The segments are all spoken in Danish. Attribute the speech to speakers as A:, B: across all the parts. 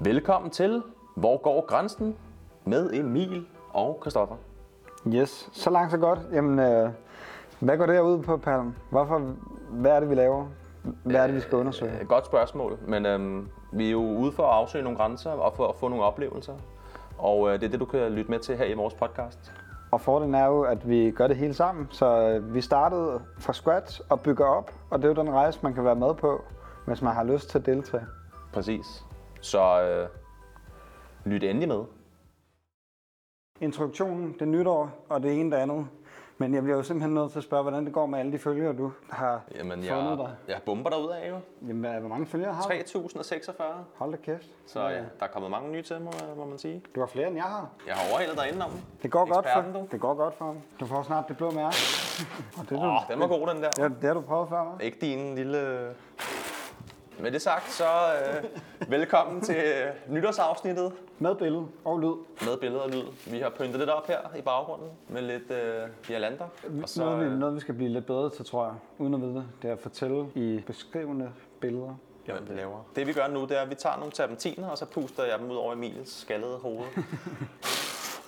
A: Velkommen til Hvor går grænsen? med Emil og Kristoffer.
B: Yes, så langt så godt. Jamen, øh, hvad går det her ud på, Palm? Hvorfor, hvad er det, vi laver? Hvad er det, vi skal undersøge?
A: Øh, Godt spørgsmål, men øhm, vi er jo ude for at afsøge nogle grænser og for at få nogle oplevelser. Og øh, det er det, du kan lytte med til her i vores podcast.
B: Og fordelen er jo, at vi gør det hele sammen. Så øh, vi startede fra scratch og bygger op, og det er jo den rejse, man kan være med på, hvis man har lyst til at deltage.
A: Præcis. Så øh, lyt endelig med.
B: Introduktionen, det nytår og det ene det andet. Men jeg bliver jo simpelthen nødt til at spørge, hvordan det går med alle de følgere, du har
A: Jamen,
B: fundet
A: jeg,
B: dig.
A: jeg bomber dig ud af jo.
B: Jamen, hvad- hvor mange følgere har du?
A: 3046.
B: Hold da kæft.
A: Så ja. der er kommet mange nye til, må, må man sige.
B: Du har flere, end jeg har.
A: Jeg har overhalet dig indenom.
B: Det går, godt
A: Eksperten,
B: for,
A: du.
B: det går godt for ham. Du får snart det blå mærke. Og det, er du,
A: Åh, den var god, den der.
B: det, er- det har du prøvet før, hva'?
A: Ikke din lille... Med det sagt, så øh, velkommen til øh, nytårsafsnittet
B: Med billede og lyd.
A: med billeder og lyd. Vi har pyntet lidt op her i baggrunden med lidt øh, girlander. Og
B: Så,
A: så,
B: noget, vi,
A: øh,
B: noget, vi skal blive lidt bedre til, tror jeg, uden at vide det, det er at fortælle i beskrivende billeder.
A: hvad vi laver. Det vi gør nu, det er, at vi tager nogle terpentiner, og så puster jeg dem ud over Emiliens skaldede hoved.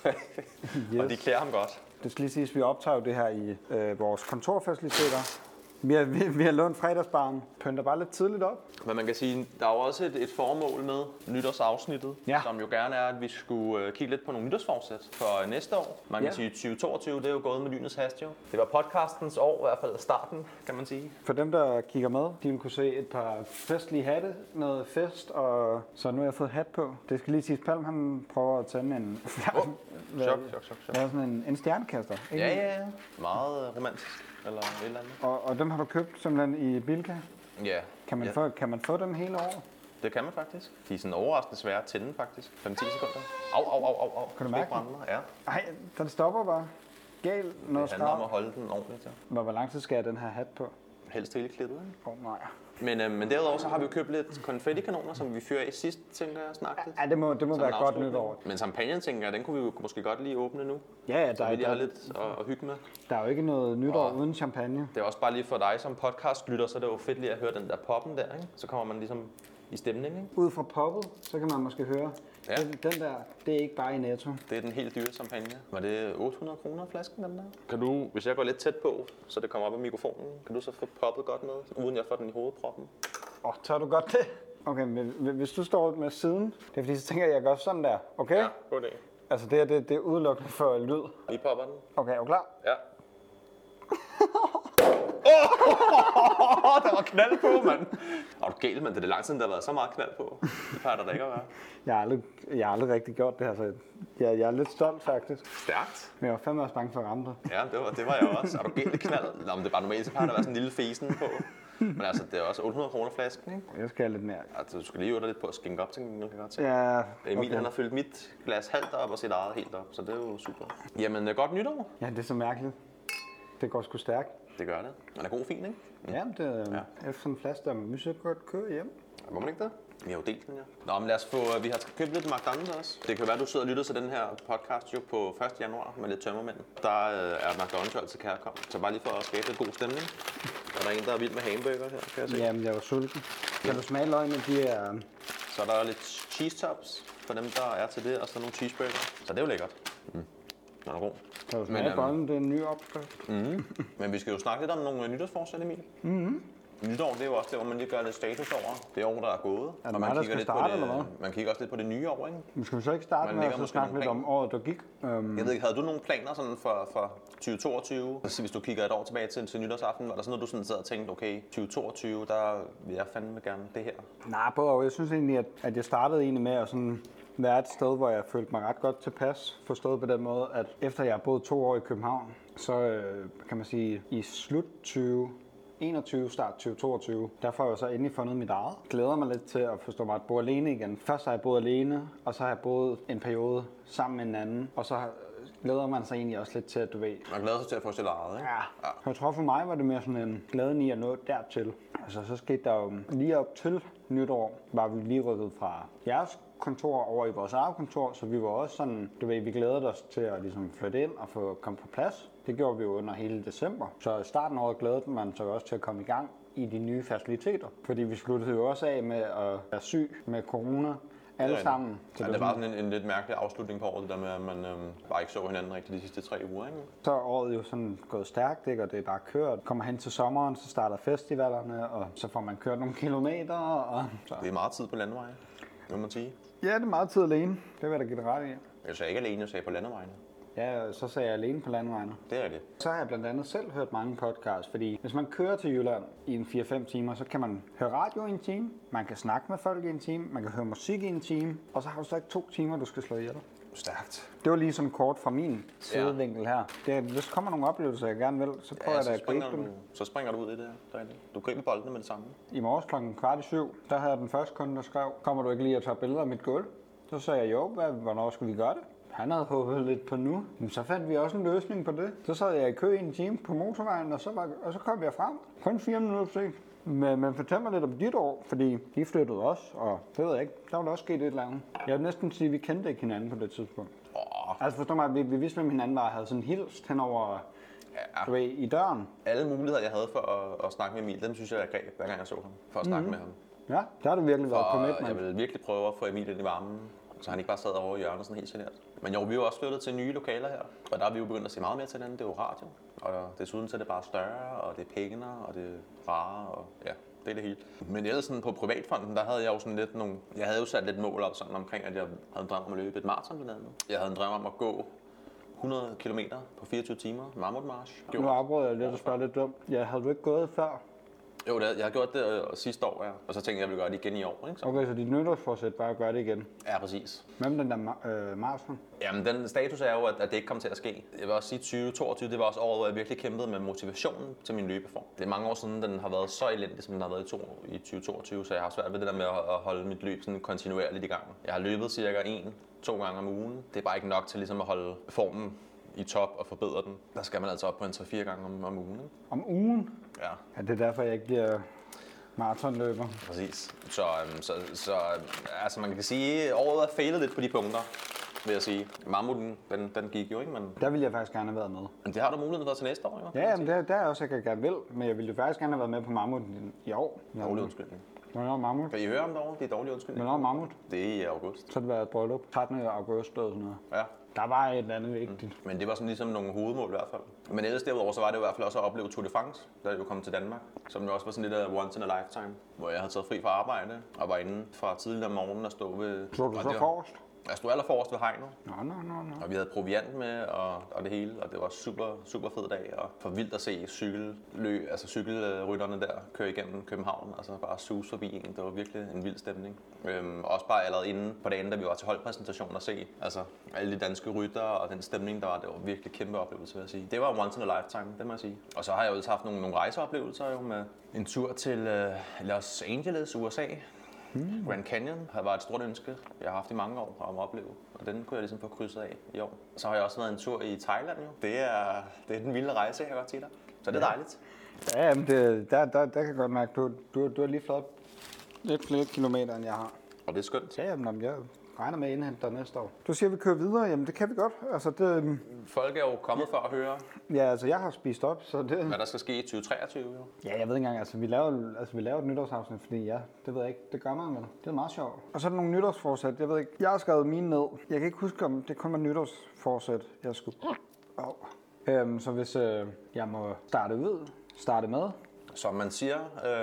A: yes. Og de klæder ham godt.
B: Det skal lige siges, at vi optager jo det her i øh, vores kontorfaciliteter. Vi har, vi, vi har lånt fredagsbaren. Pynter bare lidt tidligt op.
A: Men man kan sige, der er jo også et, et formål med nytårsafsnittet,
B: Ja.
A: som jo gerne er, at vi skulle øh, kigge lidt på nogle nytårsforsæt for øh, næste år. Man kan
B: Ja.
A: sige, 2022, det er jo gået med lynets hast jo. Det var podcastens år, i hvert fald starten, kan man sige.
B: For dem, der kigger med, de vil kunne se et par festlige hatte, noget fest, og så nu har jeg fået hat på. Det skal lige siges, Palm han prøver at tænde en...
A: Oh,
B: Hvad-
A: chok, chok, chok, chok.
B: Hvad er sådan en, en stjernekaster? ikke?
A: Ja, ja, ja. Meget øh, romantisk, eller et eller andet.
B: Og, og dem har du købt simpelthen i Bilka.
A: Ja.
B: Kan man,
A: ja.
B: få, kan man få dem hele året?
A: Det kan man faktisk. De er sådan overraskende svære at tænde, faktisk. 5-10 sekunder. Au, au, au, au, au. Kan
B: du mærke
A: brænde mig? Ja.
B: Nej, den stopper bare. Galt noget
A: Det handler om at
B: skrav.
A: holde den ordentligt. Ja.
B: Hvor, hvor lang tid skal jeg have den her hat på? Åh,
A: Helst hele klippet, ikke?
B: oh, nej.
A: Men, øh, men derudover så har vi jo købt lidt konfettikanoner, som vi fyrer af sidst, tænker jeg snart. lidt.
B: Ja, det må, det må
A: Som
B: være
A: en
B: godt
A: afslutning.
B: nytår.
A: Men champagnen, tænker jeg, den kunne vi jo måske godt lige åbne nu.
B: Ja, ja, der,
A: Så
B: er,
A: vi lige har
B: der,
A: lidt at, at hygge med.
B: der er jo ikke noget nytår
A: Og-
B: uden champagne.
A: Det er også bare lige for dig som podcastlytter, så er det jo fedt lige at høre den der poppen der, ikke? Så kommer man ligesom i stemning, ikke?
B: Ud fra poppet, så kan man måske høre,
A: Ja.
B: ja. den, den der, det er ikke bare i Netto.
A: Det er den helt dyre champagne. Var det 800 kroner flasken, den der? Kan du, hvis jeg går lidt tæt på, så det kommer op i mikrofonen, kan du så få poppet godt med, uden jeg får den i hovedproppen?
B: Åh, oh, tør du godt det? Okay, men hvi- hvis du står med siden, det er fordi, så tænker jeg, at jeg gør sådan der, okay? Ja.
A: god idé.
B: Altså det her, det, det er udelukkende for lyd.
A: Vi popper den.
B: Okay, er du klar?
A: Ja. Åh, oh, der var knald på, mand. Er du gal, mand? Det er lang siden, der har været så meget knald på. Det plejer der da ikke at være.
B: Jeg har aldrig, jeg har aldrig rigtig gjort det her, så jeg, jeg er lidt stolt faktisk.
A: Stærkt.
B: Men jeg var fandme også bange for at ramme dig.
A: Ja, det var, det var jeg også. Er du gal, det knald? Nå, men det er bare normalt, så plejer der at være sådan en lille fesen på. Men altså, det er også 800 kroner flasken, ikke?
B: Jeg skal have lidt mere.
A: Altså, du skal lige øve dig lidt på at skænke op, tænker jeg, nu kan jeg godt se.
B: Ja,
A: Emil okay.
B: okay.
A: han har fyldt mit glas halvt op og sit eget helt op, så det er jo super. Jamen, øh, godt nytår.
B: ja, det er så mærkeligt. Det går sgu stærkt.
A: Det gør det. Man er god fin, ikke?
B: Ja, det øh, er ja. efter en flaske, der må så godt køre hjem.
A: Må man ikke det? Vi har jo delt den, ja. Nå, men lad os få... øh, Vi har købt lidt McDonald's også. Det kan være, at du sidder og lytter til den her podcast jo på 1. januar med lidt tømmermænd. Der øh, er McDonald's jo altid kærkommet. Så bare lige for at skabe lidt god stemning. Og der er en, der er vild med hamburger her, kan jeg se.
B: Jamen, jeg var sulten. Kan du smage løgene? De er...
A: Så er der lidt cheese tops for dem, der er til det, og så nogle cheeseburger. Så det er jo lækkert. Mm. Den er god.
B: Kan du smage
A: øhm,
B: bollen? Det er en ny opskrift.
A: Men vi skal jo snakke lidt om nogle øh, nytårsforsæt, Emil. Mm-hmm.
B: Mhm.
A: Nytår, det er jo også det, hvor man lige gør lidt status over det år, der er gået.
B: Er det mig, der skal starte,
A: på det, øh,
B: eller
A: man kigger også lidt på det nye år, ikke?
B: Men skal vi så ikke starte
A: Man
B: med at
A: lægger
B: så
A: måske
B: snakke
A: nogle
B: lidt om året, der gik? Øhm,
A: Jeg ved ikke, havde du nogle planer sådan for, for 2022? Altså, hvis du kigger et år tilbage til, til nytårsaften, var der sådan noget, du sådan sad og tænkte, okay, 2022, der vil jeg fandme gerne det her.
B: nej, både jeg synes egentlig, at, at jeg startede egentlig med at sådan være et sted, hvor jeg følte mig ret godt tilpas. Forstået på den måde, at efter jeg har boet to år i København, så øh, kan man sige, i slut 2021, start 2022, der får jeg så endelig fundet mit eget. Glæder mig lidt til at forstå mig at bo alene igen. Først har jeg boet alene, og så har jeg boet en periode sammen med en anden, og så har- glæder man sig egentlig også lidt til, at du ved,
A: Man glæder sig til at få sit eget, ikke?
B: Ja. Jeg tror for mig var det mere sådan en glæden i at nå dertil. Altså så skete der jo lige op til nytår, var vi lige rykket fra jeres kontor over i vores eget kontor, så vi var også sådan, du ved, vi glædede os til at ligesom flytte ind og få komme på plads. Det gjorde vi jo under hele december. Så i starten af året glædede man sig jo også til at komme i gang i de nye faciliteter. Fordi vi sluttede jo også af med at være syg med corona, alle
A: rigtigt.
B: sammen. Så,
A: Ja,
B: det
A: det
B: var
A: var
B: sådan,
A: sådan en, en lidt mærkelig afslutning på året, det der med, at man øhm, bare ikke så hinanden rigtig de sidste tre uger, ikke?
B: så er året jo sådan gået stærkt, ikke? og det er bare kørt. Kommer hen til sommeren, så starter festivalerne, og så får man kørt nogle kilometer. Og så.
A: Det er meget tid på landevejen, må man sige.
B: Ja, det er meget tid alene. Det vil jeg da give dig ret i.
A: Jeg sagde ikke alene, jeg sagde på landevejen.
B: Ja, så sagde jeg alene på landvejen.
A: Det er det.
B: Så har jeg blandt andet selv hørt mange podcasts, fordi hvis man kører til Jylland i en 4-5 timer, så kan man høre radio i en time, man kan snakke med folk i en time, man kan høre musik i en time, og så har du så ikke to timer, du skal slå ihjel.
A: Stærkt.
B: Det var lige sådan kort fra min sidevinkel her. Det, er, hvis der kommer nogle oplevelser, jeg gerne vil, så prøver
A: Ja,
B: ja, jeg
A: så,
B: da at
A: springer
B: gribe
A: du,
B: dem.
A: så springer du ud i det her. Der er det. Du griber boldene med det samme.
B: I morges klokken kvart i syv, der havde jeg den første kunde, der skrev, kommer du ikke lige at tage billeder af mit gulv? Så sagde jeg, jo, hvad, hvornår skulle vi gøre det? Han havde håbet lidt på nu. Men så fandt vi også en løsning på det. Så sad jeg i kø i en time på motorvejen, og så, var, og så kom jeg frem. Kun fire minutter sent. Men, men fortæl mig lidt om dit år, fordi de flyttede også, og det ved jeg ikke, der var der også sket et eller andet. Jeg vil næsten sige, at vi kendte ikke hinanden på det tidspunkt.
A: Åh,
B: Altså forstå mig, vi, vi vidste, hvem hinanden var, og havde sådan hilst hen over,
A: Ja.
B: du ved, i døren.
A: alle muligheder, jeg havde for at, at snakke med Emil, dem synes jeg, jeg greb, hver gang jeg så ham. For at
B: Mhm.
A: snakke med ham.
B: Ja, der har du virkelig været
A: Og
B: commitment.
A: jeg ville virkelig prøve at få Emil ind i varmen, så han ikke bare sad over i hjørnet sådan helt genert. Men jo, vi er jo også flyttet til nye lokaler her, og der er vi jo begyndt at se meget mere til hinanden. Det er jo radio, og desuden så er det bare større, og det er pænere, og det er rarere, og ja, det er det hele. Men ellers sådan på privatfonden, der havde jeg jo sådan lidt nogle... Jeg havde jo sat lidt mål op sådan omkring, at jeg havde en drøm om at løbe et maraton blandt andet. Jeg havde en drøm om at gå 100 km på 24 timer, mammutmarsch.
B: Nu afbrød jeg lidt og spørger lidt dumt. Ja, havde du ikke gået før?
A: Jo, det, havde- jeg har gjort det øh, sidste år, ja. og så tænkte jeg, at jeg ville gøre det igen i år. Ikke? Så,
B: Okay, så dit nytårsforsæt var at gøre det igen.
A: ja, præcis.
B: Hvem den der ma- øh, marathon?
A: Jamen, den status er jo, at, at det ikke kom til at ske. Jeg vil også sige, at 2022 det var også året, hvor jeg virkelig kæmpede med motivationen til min løbeform. Det er mange år siden, den har været så elendig, som den har været i, to, i 2022, så jeg har svært ved det der med at, at holde mit løb sådan kontinuerligt i gang. Jeg har løbet cirka en, to gange om ugen. Det er bare ikke nok til ligesom at holde formen i top og forbedre den. Der skal man altså op på en 3-4 gange om, om ugen. ikke?
B: Om ugen?
A: Ja,
B: Ja, det er derfor, jeg ikke bliver maratonløber.
A: Præcis. Så, øhm, så, så øhm, altså man kan sige, at året er fejlet lidt på de punkter, vil jeg sige. Mammuten, den, den gik jo ikke, men,
B: Der ville jeg faktisk gerne have været med.
A: men det har du muligheden for til næste år, jo.
B: Ja, jamen, det, er- det er også, jeg kan gerne vil, men jeg ville jo faktisk gerne have været med på Mammut i år.
A: Dårlig undskyldning.
B: Hvornår er Mammut?
A: Kan I høre om det over? Det er dårlig undskyldning.
B: Hvornår er Mammut?
A: Det er i august.
B: Så det var et bryllup. 13. august eller sådan noget.
A: Ja.
B: Der var et eller andet vigtigt.
A: Men det var sådan ligesom nogle hovedmål i hvert fald. Men ellers derudover, så var det jo i hvert fald også at opleve Tour de France, da jeg jo kom til Danmark. Som jo også var sådan lidt af once in a lifetime. Hvor jeg havde taget fri fra arbejde og var inde fra tidlig om morgenen og stå ved...
B: Så du
A: og
B: så
A: det var-
B: forrest?
A: Jeg stod allerforrest ved hegnet.
B: Nå, nå, nå, nå.
A: Og vi havde proviant med og, og det hele, og det var super, super fed dag, og for vildt at se cykellø, altså cykelrytterne der køre igennem København, altså bare sus forbi en. Det var virkelig en vild stemning. Øhm, også bare allerede inden på dagen, da vi var til holdpræsentation at se, altså alle de danske ryttere og den stemning, der var, det var virkelig kæmpe oplevelse, vil jeg sige. Det var once in a lifetime, det må jeg sige. Og så har jeg jo også haft nogle, nogle rejseoplevelser jo med en tur til øh, Los Angeles, USA, Grand Canyon har været et stort ønske, jeg har haft i mange år om at opleve, og den kunne jeg ligesom få krydset af i år. Så har jeg også været en tur i Thailand jo. Det er, det er den vilde rejse, jeg kan godt sige dig. Så det er dejligt.
B: Ja, jamen, det, der, der, der kan jeg godt mærke, du, du, du har lige flot lidt flere kilometer, end jeg har.
A: Og det er skønt.
B: Ja, jamen, jamen, jeg regner med at indhente dig næste år. Du siger, at vi kører videre. Jamen, det kan vi godt. Altså, det,
A: Folk er jo kommet for at høre,
B: ja, altså, jeg har spist op, så det...
A: hvad der skal ske i 2023 jo.
B: Ja, jeg ved ikke engang. Altså, vi laver, altså, vi laver et nytårsafsnit, fordi ja, det ved jeg ikke. Det gør man vel. Det er meget sjovt. Og så er der nogle nytårsforsæt. Jeg ved ikke. Jeg har skrevet mine ned. Jeg kan ikke huske, om det kun var nytårsforsæt, jeg skulle... Oh. Øhm, så hvis øh, jeg må starte ud, starte med,
A: Som man siger,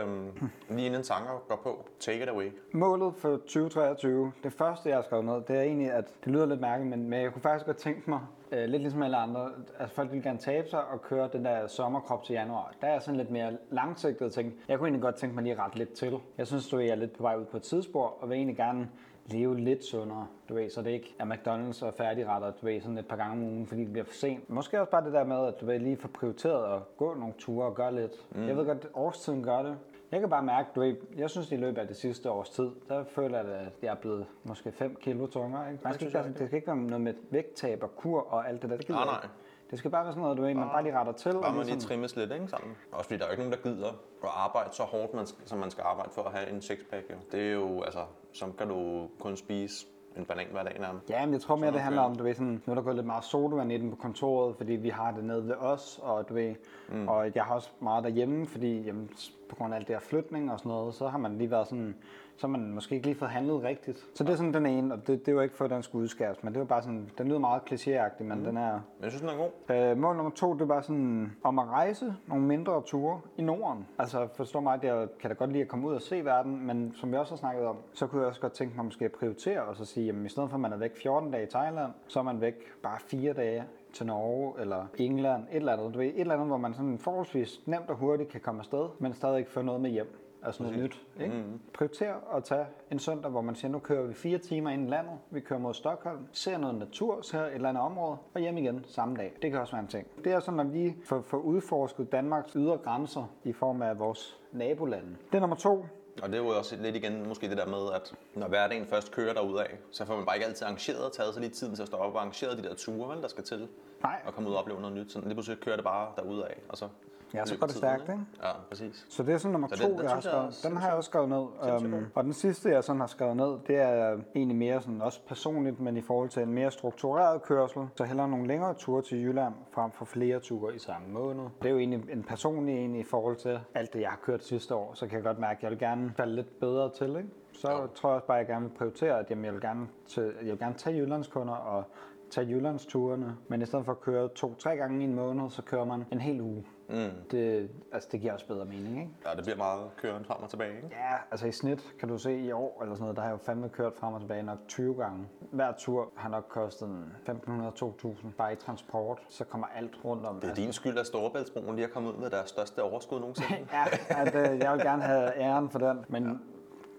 A: øhm, lige inden tanker går på, take it away.
B: Målet for 2023, det første jeg har skrevet ned, det er egentlig, at det lyder lidt mærkeligt, men, men jeg kunne faktisk godt tænke mig, øh, lidt ligesom alle andre, at folk ville gerne tabe sig og køre den der sommerkrop til januar. Der er jeg sådan lidt mere langsigtet ting. Jeg kunne egentlig godt tænke mig lige ret lidt til. Jeg synes, du ved, jeg er lidt på vej ud på et tidsspor, og vil egentlig gerne leve lidt sundere, du ved, så det ikke er McDonald's og færdigretter, du ved, sådan et par gange om ugen, fordi det bliver for sent. Måske også bare det der med, at du ved, lige få prioriteret at gå nogle ture og gøre lidt. Mm. Jeg ved godt, at årstiden gør det, jeg kan bare mærke, du ved, jeg synes i løbet af det sidste års tid, der føler jeg, at jeg er blevet måske 5 kilo tungere. Ikke? Man skal ikke, være sådan- det skal ikke være noget med vægttab og kur og alt det der. Det gider
A: Nej,
B: jeg
A: nej.
B: ikke. Det skal bare være sådan noget, du ved, man bare lige retter til.
A: Bare
B: og
A: man lige
B: ligesom-
A: trimmes lidt, ikke sammen? Også fordi der er jo ikke nogen, der gider at arbejde så hårdt, man skal, som man skal arbejde for at have en sixpack jo. Det er jo, altså, som kan du kun spise en banan hver dag nærmest.
B: Ja, men jeg tror mere, det
A: nogle
B: handler om, du ved, sådan, nu er der gået lidt meget sodavand i den på kontoret, fordi vi har det nede ved os, og du ved, mm. og jeg har også meget derhjemme, fordi jamen, s- på grund af alt det her flytning og sådan noget, så har man lige været sådan, så har man måske ikke lige fået handlet rigtigt. Så det er sådan den ene, og det, det var ikke for, at den skulle udskæres, men det var bare sådan, den lyder meget klichéagtig, men mm. den er...
A: Men jeg synes, den er god.
B: Øh, mål nummer to, det var sådan om at rejse nogle mindre ture i Norden. Altså forstå mig, at jeg kan da godt lide at komme ud og se verden, men som vi også har snakket om, så kunne jeg også godt tænke mig måske at prioritere og så sige, jamen i stedet for at man er væk 14 dage i Thailand, så er man væk bare 4 dage til Norge eller England, et eller andet, du ved, et eller andet, hvor man sådan forholdsvis nemt og hurtigt kan komme afsted, men stadig ikke få noget med hjem. Altså noget nyt. Ikke? Mm-hmm. Prioriter at tage en søndag, hvor man siger, nu kører vi fire timer ind i landet, vi kører mod Stockholm, ser noget natur, ser et eller andet område, og hjem igen samme dag. Det kan også være en ting. Det er sådan, at vi får, får udforsket Danmarks ydre grænser i form af vores nabolande. Det er nummer to.
A: Og det er jo også lidt igen måske det der med, at når hverdagen først kører derudad, så får man bare ikke altid arrangeret og taget sig lige tiden til at stå op og arrangeret de der ture, vel, der skal til.
B: Nej.
A: Og komme ud og opleve noget nyt. Sådan, lige pludselig kører det bare derudad, og så
B: Ja, så
A: løber
B: går det
A: tiden,
B: stærkt, ikke?
A: Ja, præcis.
B: Så det er sådan nummer
A: Så
B: så
A: den-
B: to,
A: den
B: den, jeg har
A: synes jeg er
B: skrevet. Den har jeg også skrevet ned. Øhm, og den sidste, jeg sådan har skrevet ned, det er egentlig mere sådan også personligt, men i forhold til en mere struktureret kørsel, så hellere nogle længere ture til Jylland, frem for flere ture i samme måned. Det er jo egentlig en personlig en i forhold til alt det, jeg har kørt sidste år, så kan jeg godt mærke, at jeg vil gerne falde lidt bedre til, ikke? Så
A: Jo.
B: tror jeg også bare, at jeg gerne vil prioritere, at jamen, jeg, vil gerne til, jeg vil gerne tage Jyllandskunder og tage Jyllandsturene, men i stedet for at køre to-tre gange i en måned, så kører man en hel uge. Mm. Det, altså, det giver også bedre mening, ikke?
A: Ja, det bliver meget køren frem og tilbage, ikke?
B: Ja, altså i snit kan du se i år eller sådan noget, der har jeg jo fandme kørt frem og tilbage nok 20 gange. Hver tur har nok kostet en 1.500-2.000 bare i transport, så kommer alt rundt om.
A: Det er din skyld, at Storebæltsbroen lige er kommet ud med deres største overskud nogensinde.
B: Ja, at, øh, jeg vil gerne have æren for den, men ja.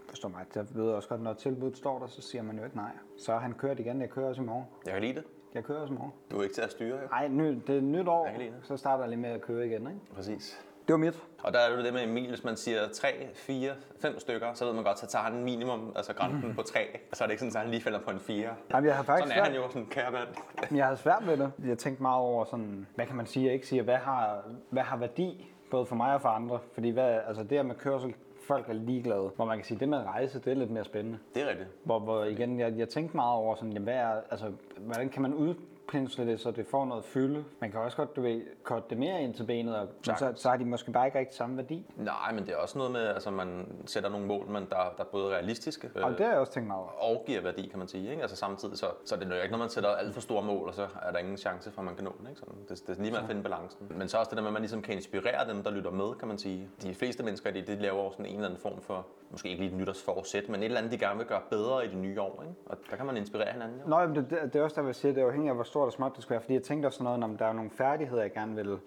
B: forstå mig, jeg ved også godt, når tilbuddet står der, så siger man jo ikke nej. Så har han kørt igen, jeg kører også i morgen.
A: Jeg kan lide det.
B: Jeg kører også i morgen.
A: Du er ikke til at styre, jo.
B: Ej, ny, det er nyt år,
A: Jeg kan lide det.
B: så starter jeg lige med at køre igen, ikke?
A: Præcis.
B: Det var mit.
A: Og der er det jo det med Emil, hvis man siger 3, 4, 5 stykker, så ved man godt, så tager han minimum, altså grænsen på 3, og så er det ikke sådan, at han lige falder på en 4.
B: Jamen, jeg har faktisk
A: Sådan er han
B: svært-
A: jo, sådan kære mand.
B: Men Jeg havde svært ved det. Jeg tænkte meget over sådan, hvad kan man sige og ikke sige, og hvad har, hvad har værdi, både for mig og for andre. Fordi hvad, altså det her med kørsel, folk er ligeglade. Hvor man kan sige, det med at rejse, det er lidt mere spændende.
A: Det er rigtigt.
B: Hvor, hvor igen, jeg, jeg tænkte meget over sådan, jamen, hvad er, altså, hvordan kan man udpensle det, så det får noget fylde. Man kan også godt, du ved, korte det mere ind til benet, og, men så, så har de måske bare ikke rigtig samme værdi.
A: Nej, men det er også noget med, altså man sætter nogle mål, men der, der er både realistiske øh,
B: Og det har jeg også tænkt meget over.
A: og giver værdi, kan man sige. Ikke? Altså samtidig, så, så det er jo ikke, når man sætter alt for store mål, og så er der ingen chance for, at man kan nå den. Ikke? Sådan, det, det er lige med at finde balancen. Men så også det der med, at man ligesom kan inspirere dem, der lytter med, kan man sige. De fleste mennesker, de, de laver jo sådan en eller anden form for, måske ikke lige et nytårsforsæt, men et eller andet, de gerne vil gøre bedre i det nye år. Ikke? Og der kan man inspirere hinanden. Jo.
B: Nå, jamen, det, det, det er også der, hvor jeg siger, det er afhængigt af, hvor stort og småt det skal være. Fordi jeg tænkte også sådan noget, om der er nogle færdigheder, jeg gerne vil...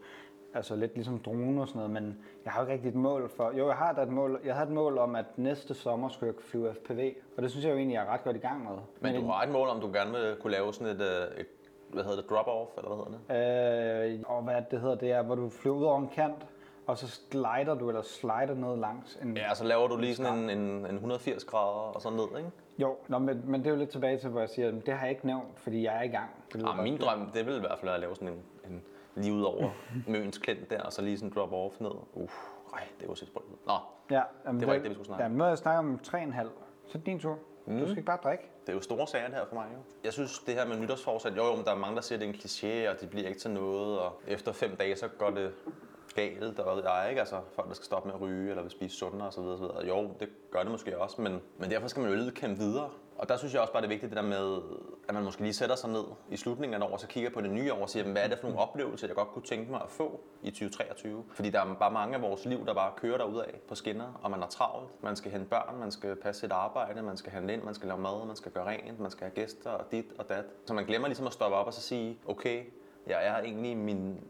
B: Altså lidt ligesom droner og sådan noget, men jeg har jo ikke rigtig et mål for... Jo, jeg har da et mål, jeg havde et mål om, at næste sommer skulle jeg flyve FPV. Og det synes jeg jo egentlig, jeg er ret godt i gang med.
A: Men du har et mål, om du gerne vil kunne lave sådan et, øh, et hvad hedder det, drop-off, eller hvad hedder det?
B: Øh, og hvad det hedder, det er, hvor du flyver ud over en kant, og så slider du, eller slider ned langs en...
A: Ja, så laver du lige sådan en, en, en 180 grader og så ned, ikke?
B: Jo, nå, men, men det er jo lidt tilbage til, hvor jeg siger, at det har jeg ikke nævnt, fordi jeg er i gang. Det lyder
A: Ah, min drøm, det ville i hvert fald være at lave sådan en, en lige ud over Møns klint der, og så lige sådan drop off ned. Uff, ej, det var sit sprøjt. Nå,
B: Ja, jamen,
A: Det var ikke det, vi skulle snakke
B: om. Ja, nu har jeg snakket om 3,5. Så er det din tur. Mm. Du skal ikke bare drikke.
A: det er jo store sager det her for mig jo. Jeg synes, det her med nytårsforsæt, jo, jo men der er mange, der siger, det er en kliché, og det bliver ikke til noget, og efter fem dage, så går det galt, og der er ikke altså folk, der skal stoppe med at ryge, eller vil spise sundere osv. osv. Jo, det gør det måske også, men, men derfor skal man jo lidt kæmpe videre. Og der synes jeg også bare, det er vigtigt det der med, at man måske lige sætter sig ned i slutningen af et år, og så kigger på det nye år og siger, hvad er det for nogle oplevelser, jeg godt kunne tænke mig at få i 2023? Fordi der er bare mange af vores liv, der bare kører derudad på skinner, og man har travlt. Man skal hente børn, man skal passe sit arbejde, man skal handle ind, man skal lave mad, man skal gøre rent, man skal have gæster og dit og dat. Så man glemmer ligesom at stoppe op og så sige, okay, jeg er egentlig i min,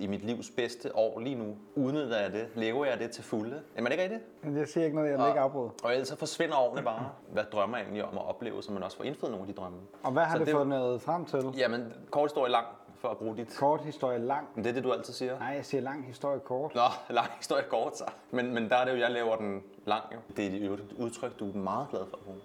A: i mit livs bedste år lige nu. Udnytter jeg det? Lever jeg det til fulde? Er man ikke rigtigt?
B: Jeg siger ikke noget, jeg vil ikke afbryde.
A: Og ellers så forsvinder årene bare. Hvad drømmer jeg egentlig om at opleve, så man også får indfriet nogle af de drømme?
B: Og hvad har
A: Så
B: det,
A: det-
B: det fundet frem til? Ja.
A: Jamen, kort historie lang, for at bruge dit...
B: Kort historie lang.
A: Men Det er det, du altid siger.
B: Nej, jeg siger lang historie kort.
A: Nå, lang historie kort, så. Men, men der er det jo, jeg laver den lang, jo. Det er i øvrigt et udtryk, du er meget glad for at bruge.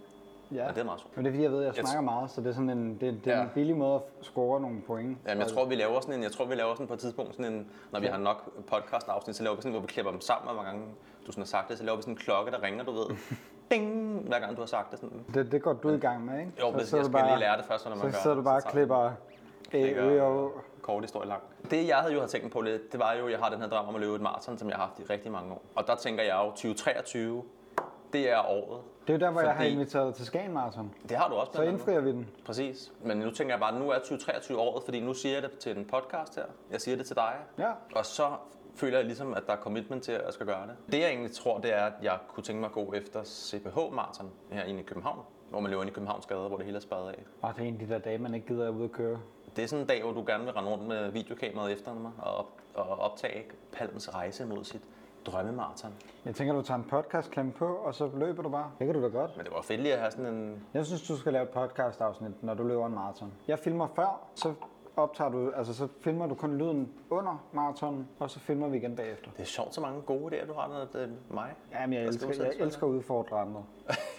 B: Ja.
A: Og det er meget sjovt.
B: Men det er fordi, jeg ved, at jeg snakker meget, så det er sådan en, det, det er
A: Ja.
B: en billig måde at score nogle point.
A: Jamen, jeg tror, vi laver sådan en, jeg tror, vi laver sådan på et tidspunkt sådan en, når vi har nok podcast-afsnit, så laver vi sådan, hvor vi klipper dem sammen, og hvor gange du sådan har sagt det, så laver vi sådan en klokke, der ringer, du ved. Ding! Hver gang du har sagt det sådan.
B: Det, det går du i gang med, ikke?
A: Jo, men jeg
B: sidder
A: skal
B: du
A: bare, lige lære det først, når man gør
B: Så sidder du
A: det,
B: bare og
A: tager vi-
B: klipper Øh, jo,
A: kort historie lang. Det, jeg havde jo har tænkt på lidt, det var jo, at jeg har den her drøm om at løbe et maraton, som jeg har haft i rigtig mange år. Og der tænker jeg jo, 2023, det er året.
B: det er jo der, hvor jeg har
A: Fordi-
B: inviteret til Skagen Marathon.
A: Det har du også
B: Så
A: blandt andet.
B: indfrier vi den.
A: Præcis. Men nu tænker jeg bare, at nu er 2023 året, fordi nu siger jeg det til en podcast her. Jeg siger det til dig.
B: Ja.
A: Og så føler jeg ligesom, at der er commitment til, at jeg skal gøre det. Det jeg egentlig tror, det er, at jeg kunne tænke mig at gå efter cph marathon her inde i København. Hvor man løber ind i Københavns gader, hvor det hele er spadet af.
B: Og det er en af de der dage, man ikke gider at ud og køre.
A: Det er sådan en dag, hvor du gerne vil rende rundt med videokameraet efter mig og, op, og optage Palms rejse mod sit drømmemarathon.
B: Jeg tænker, du tager en podcast klem på, og så løber du bare. Det kan du da godt.
A: Men det var fedt lige at have sådan en...
B: Jeg synes, du skal lave et podcast afsnit, når du løber en maraton. Jeg filmer før, så optager du, altså så filmer du kun lyden under maratonen, og så filmer vi igen bagefter.
A: Det er sjovt, så mange gode idéer, du har med øh, mig.
B: Jamen, jeg
A: Der skal
B: elsker,
A: du
B: jeg
A: selv
B: elsker at udfordre andre.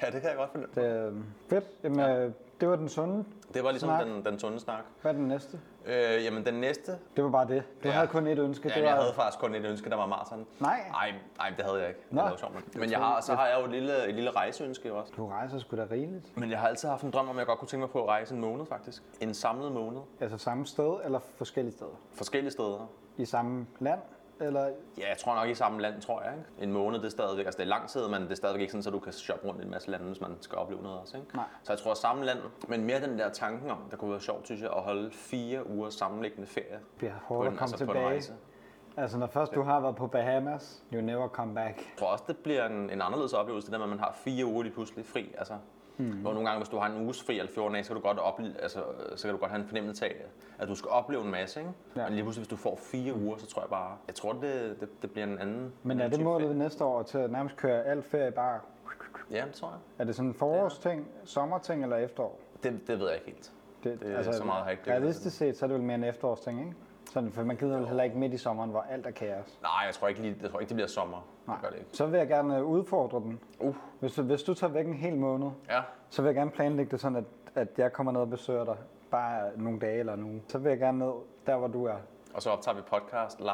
A: ja, det kan jeg godt finde.
B: Det er øh, fedt. Jamen, ja. det var den sunde.
A: Det var ligesom
B: Snak.
A: den, den sunde snak.
B: Hvad er den næste?
A: Øh, jamen, den næste...
B: Det var bare det. Du
A: Ja.
B: havde kun et ønske.
A: Ja,
B: det
A: jeg
B: var,
A: havde faktisk kun et ønske, der var maraton.
B: Nej.
A: Ej, ej, det havde jeg ikke. Det
B: Nå.
A: var sjovt. Men jeg har, så har jeg jo et lille, et lille rejseønske også.
B: Du rejser sgu da rigeligt.
A: Men jeg har altid haft en drøm om, at jeg godt kunne tænke mig på at rejse en måned, faktisk. En samlet måned.
B: Altså samme sted eller forskellige steder?
A: Forskellige steder.
B: I samme land? Eller
A: Ja, jeg tror nok i samme land, tror jeg. Ikke? En måned, det er stadigvæk, altså det er lang tid, men det er stadigvæk ikke sådan, at du kan shoppe rundt i en masse lande, hvis man skal opleve noget også. Ikke?
B: Nej.
A: Så jeg tror samme land, men mere den der tanken om, der kunne være sjovt, synes jeg, at holde fire uger sammenliggende ferie.
B: Det er hårdt at komme
A: på en
B: tilbage.
A: rejse.
B: Altså, når først du har været på Bahamas, you never come back.
A: Jeg tror også, det bliver en, en anderledes oplevelse, det der med, at man har fire uger lige pludselig fri. Altså, mm.
B: Hmm.
A: Hvor nogle gange, hvis du har en uges fri eller 14 dage, så kan du godt, opleve, altså, øh, så kan du godt have en fornemmelse af, at du skal opleve en masse. Ikke?
B: Ja.
A: Ja. Men lige pludselig, hvis du får fire uger, så tror jeg bare, jeg tror, det, det, det bliver en anden
B: Men
A: en
B: er
A: anden
B: det
A: type
B: målet
A: ferie.
B: næste år til at nærmest køre alt ferie bare?
A: Ja, det tror jeg.
B: Er det sådan en forårsting, sommerting eller efterår?
A: Det, det ved jeg ikke helt.
B: Det, altså,
A: Det er så meget, altså. jeg har ikke dykket
B: Realistisk set, så er det vel mere en efterårsting, ikke? Sådan, for man gider vel heller ikke midt i sommeren, hvor alt er kaos.
A: Nej, jeg tror ikke, lige, jeg tror ikke det bliver sommer. Nej. Det gør det ikke.
B: Så vil jeg gerne øh, udfordre den.
A: Uh.
B: Hvis, du- hvis du tager væk en hel måned,
A: Ja.
B: så vil jeg gerne planlægge det sådan, at, at jeg kommer ned og besøger dig bare nogle dage eller en uge. Så vil jeg gerne ned der, hvor du er.
A: Og så optager vi podcast live.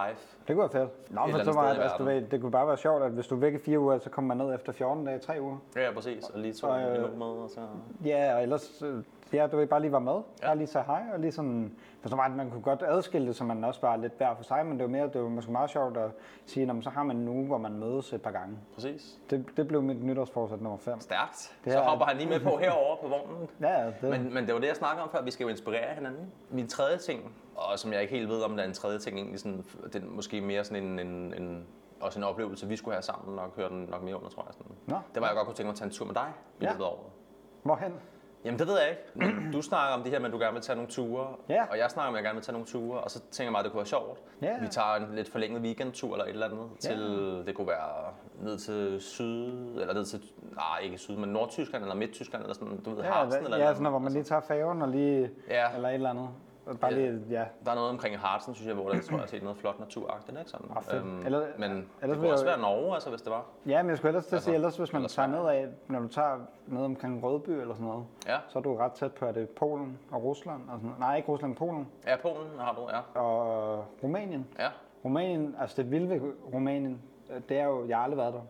B: Det kunne være fedt. Nå,
A: eller
B: men så
A: andet
B: meget,
A: sted i
B: altså, du
A: verden.
B: ved, det kunne bare være sjovt, at hvis du er væk i fire uger, så kommer man ned efter 14 dage, tre uger.
A: Ja, præcis. Og lige to
B: Og, øh,
A: øh... minutter med, og så...
B: Ja, og ellers, øh, ja, du vil bare lige være med. Ja.
A: Ja.
B: Bare lige sige hej, og lige sådan, for så meget, man kunne godt adskille det, så man også bare er lidt hver for sig, men det var mere, det var måske meget sjovt at sige, "Nå, men så har man en uge, hvor man mødes et par gange.
A: Præcis.
B: Det, det blev mit nytårsforsæt nummer 5.
A: Stærkt.
B: Det
A: så
B: er-
A: hopper han lige med på herover på vognen.
B: Ja, ja, det. Men...
A: Men, men det var det, jeg snakkede om før. Vi skal jo inspirere hinanden. Min tredje ting, og som jeg ikke helt ved, om der er en tredje ting, egentlig sådan, den måske mere sådan en, en, en også en oplevelse, vi skulle have sammen, og høre den nok mere under, tror jeg. Sådan.
B: Nå.
A: Det var, jeg godt kunne tænke mig at tage en tur med dig i
B: Ja.
A: løbet af året.
B: Hvorhen?
A: Jamen det ved jeg ikke. Men Du snakker om det her med, at du gerne vil tage nogle ture,
B: Ja.
A: og jeg snakker om, at jeg gerne vil tage nogle ture, og så tænker jeg mig, at det kunne være sjovt.
B: Ja.
A: Vi tager en lidt forlænget weekendtur eller et eller andet til, det kunne være ned til syd, eller ned til, nej ikke syd, men Nordtyskland eller Midttyskland eller sådan, du ved,
B: Ja,
A: Harzen
B: ja,
A: eller
B: ja,
A: noget.
B: sådan, noget, hvor man lige tager faven og lige,
A: Ja.
B: eller et eller andet. Og Bare
A: Ja.
B: lige, ja.
A: Der er noget omkring Harzen, synes jeg, hvor der tror jeg, jeg har set noget flot naturagtigt, ikke sådan?
B: Ah, fedt. Eller-
A: eller, men
B: vil
A: det kunne også
B: jeg-
A: være Norge, altså, hvis det var.
B: ja, men jeg skulle ellers til at sige, ellers hvis man
A: ellers
B: tager nedad, når du tager ned omkring Rødby eller sådan noget,
A: Ja,
B: så er du ret tæt på, at det er Polen og Rusland. Og sådan noget. Nej, ikke Rusland, Polen
A: ja Polen har du, ja.
B: og Rumænien.
A: Ja,
B: Rumænien, altså det vilde ved Rumænien, øh, det er jo, jeg har aldrig været der,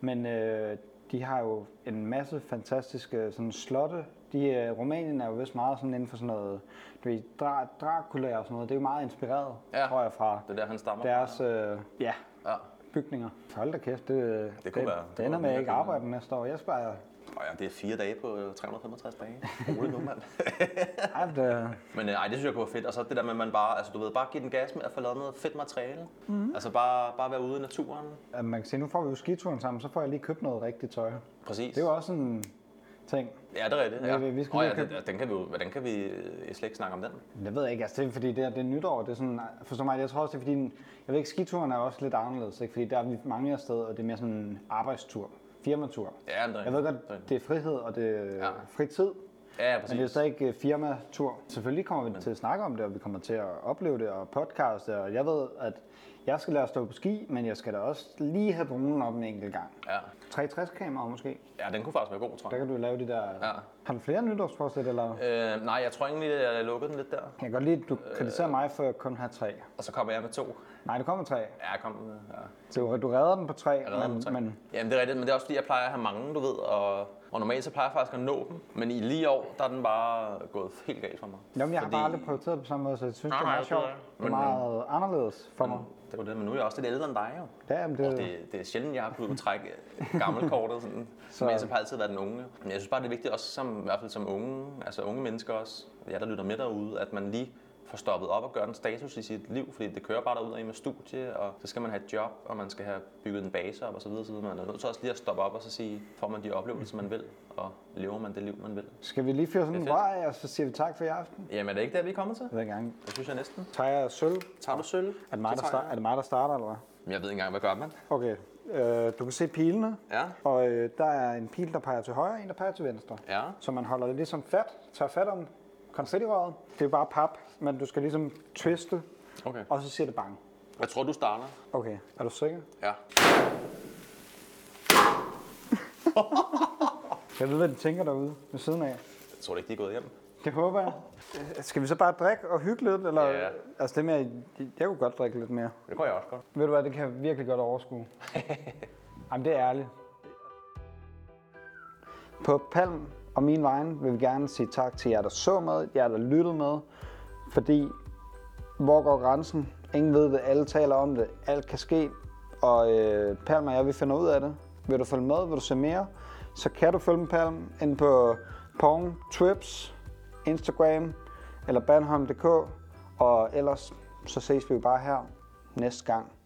B: men øh, de har jo en masse fantastiske øh, sådan, slotte. De, øh, Rumænien er jo vist meget sådan inden for sådan noget, du ved, Dra- Dracula og sådan noget, det er jo meget inspireret,
A: Ja.
B: tror jeg, fra
A: det er der, han stammer
B: deres øh, ja,
A: fra. Ja.
B: bygninger. Hold da kæft, det,
A: Det kunne være.
B: det, det ender med, at jeg ikke
A: kunne-
B: arbejder næste år. Jeg spørger,
A: Og ja, det er fire dage på øh, 365 dage. Rolig nu, mand.
B: ej, det,
A: Men øh, ej, det synes jeg kunne være fedt. Og så det der med, at man bare, altså du ved, bare give den gas med at få lavet noget fedt materiale.
B: Mhm.
A: Mm-hmm. Altså bare, bare være ude i naturen.
B: at man kan sige, nu får vi jo skituren sammen, så får jeg lige købt noget rigtigt tøj.
A: Præcis.
B: Det er jo også en ting.
A: Ja, det er rigtigt.
B: Ja,
A: Ja.
B: vi- vi skal
A: Nå
B: lige
A: ja, altså,
B: købe-
A: den, den kan vi, jo- hvordan kan vi øh, slet ikke snakke om den?
B: Det ved jeg ikke, altså det er fordi det, er, det er nytår, det er sådan, forstår mig, jeg tror også det er fordi, den- jeg ved ikke, skituren er også lidt anderledes, ikke? fordi der er vi mange af sted, og det er mere sådan en arbejdstur, firmatur.
A: Ja, det er
B: Jeg ved
A: rigtigt.
B: godt, det er frihed og det er ja.
A: Ja.
B: fritid,
A: Ja,
B: men
A: præcis.
B: det er stadig ikke øh, firmatur. Selvfølgelig kommer vi til at snakke om det, og vi kommer til at opleve det og podcaste, og jeg ved, at jeg skal lære at stå på ski, men jeg skal da også lige have dronen op en enkelt gang.
A: Ja.
B: 360 kamera måske,
A: ja, den kunne faktisk være god, tror
B: der
A: jeg.
B: kan du lave de der...
A: Ja.
B: Har du flere nytårsforsæt, eller?
A: Øh, nej, jeg tror egentlig, at jeg lukkede den lidt der.
B: Jeg kan godt lide, at du
A: Øh,
B: kritiserer mig for at kun have tre.
A: Og så kommer jeg med to.
B: Nej, du kommer tre.
A: Ja, kom. øh, Ja.
B: Du, du redder den på tre,
A: Jeg redder
B: men,
A: den på tre.
B: men
A: Jamen, det er rigtigt, men det er også fordi, jeg plejer at have mange, du ved, og, Og normalt så plejer jeg faktisk at nå dem, men i lige år, der er den bare gået helt galt for mig.
B: Nå, men jeg har
A: Fordi-
B: bare aldrig prioriteret på samme måde, så jeg synes,
A: Nej,
B: det er
A: nej,
B: meget
A: det ved
B: sjovt.
A: jeg.
B: Det er
A: Men-
B: meget anderledes for mig.
A: Det var det, men nu er jeg også lidt ældre end dig jo.
B: Ja, jamen, det,
A: Og det, det er sjældent, jeg har kunnet trække gammelkortet sådan.
B: Så-
A: så... Men jeg har altid været den unge. Men jeg synes bare, det er vigtigt også, som, i hvert fald som unge, altså unge mennesker også, jeg der lytter med derude, at man lige får stoppet op og gør en status i sit liv, fordi det kører bare derud af med studie, og så skal man have et job, og man skal have bygget en base op og så videre, så videre. man er nødt til også lige at stoppe op og så sige, får man de oplevelser, man vil, og lever man det liv, man vil.
B: Skal vi lige fyre sådan en
A: Det er
B: vej, og så siger vi tak for i aften?
A: Jamen er det ikke der, vi er kommet til?
B: Hver gang.
A: Det synes jeg næsten.
B: Tager jeg sølv?
A: Tager du sølv?
B: Er det mig,
A: Så
B: der,
A: tager
B: star-
A: jeg-
B: er det mig, der starter, eller hvad?
A: Jeg ved ikke engang, hvad gør man?
B: Okay, øh, du kan se pilene,
A: Ja.
B: og øh, der er en pil, der peger til højre, og en, der peger til venstre.
A: Ja.
B: Så man holder det ligesom fat, tager fat om konfettirøret. Det er bare pap, men du skal ligesom twiste,
A: Okay.
B: og så siger det bang.
A: Jeg tror, du starter.
B: Okay, er du sikker?
A: Ja.
B: Jeg ved, hvad de tænker derude ved siden af.
A: Jeg tror ikke, de er gået hjem.
B: Det håber jeg. Øh, Skal vi så bare drikke og hygge lidt? Eller?
A: Ja.
B: Altså det med, jeg kunne godt drikke lidt mere.
A: Det kunne jeg også godt.
B: Ved du hvad, det kan jeg virkelig godt overskue. Jamen, det er ærligt. På Palm og min vejen vil vi gerne sige tak til jer, der så med, jer, der lyttede med, fordi hvor går grænsen? Ingen ved det, alle taler om det, alt kan ske, og øh, Palm og jeg, vi finder ud af det. Vil du følge med, vil du se mere, så kan du følge med Palm ind på Pong Trips, Instagram eller Bandholm.dk, og ellers så ses vi jo bare her næste gang.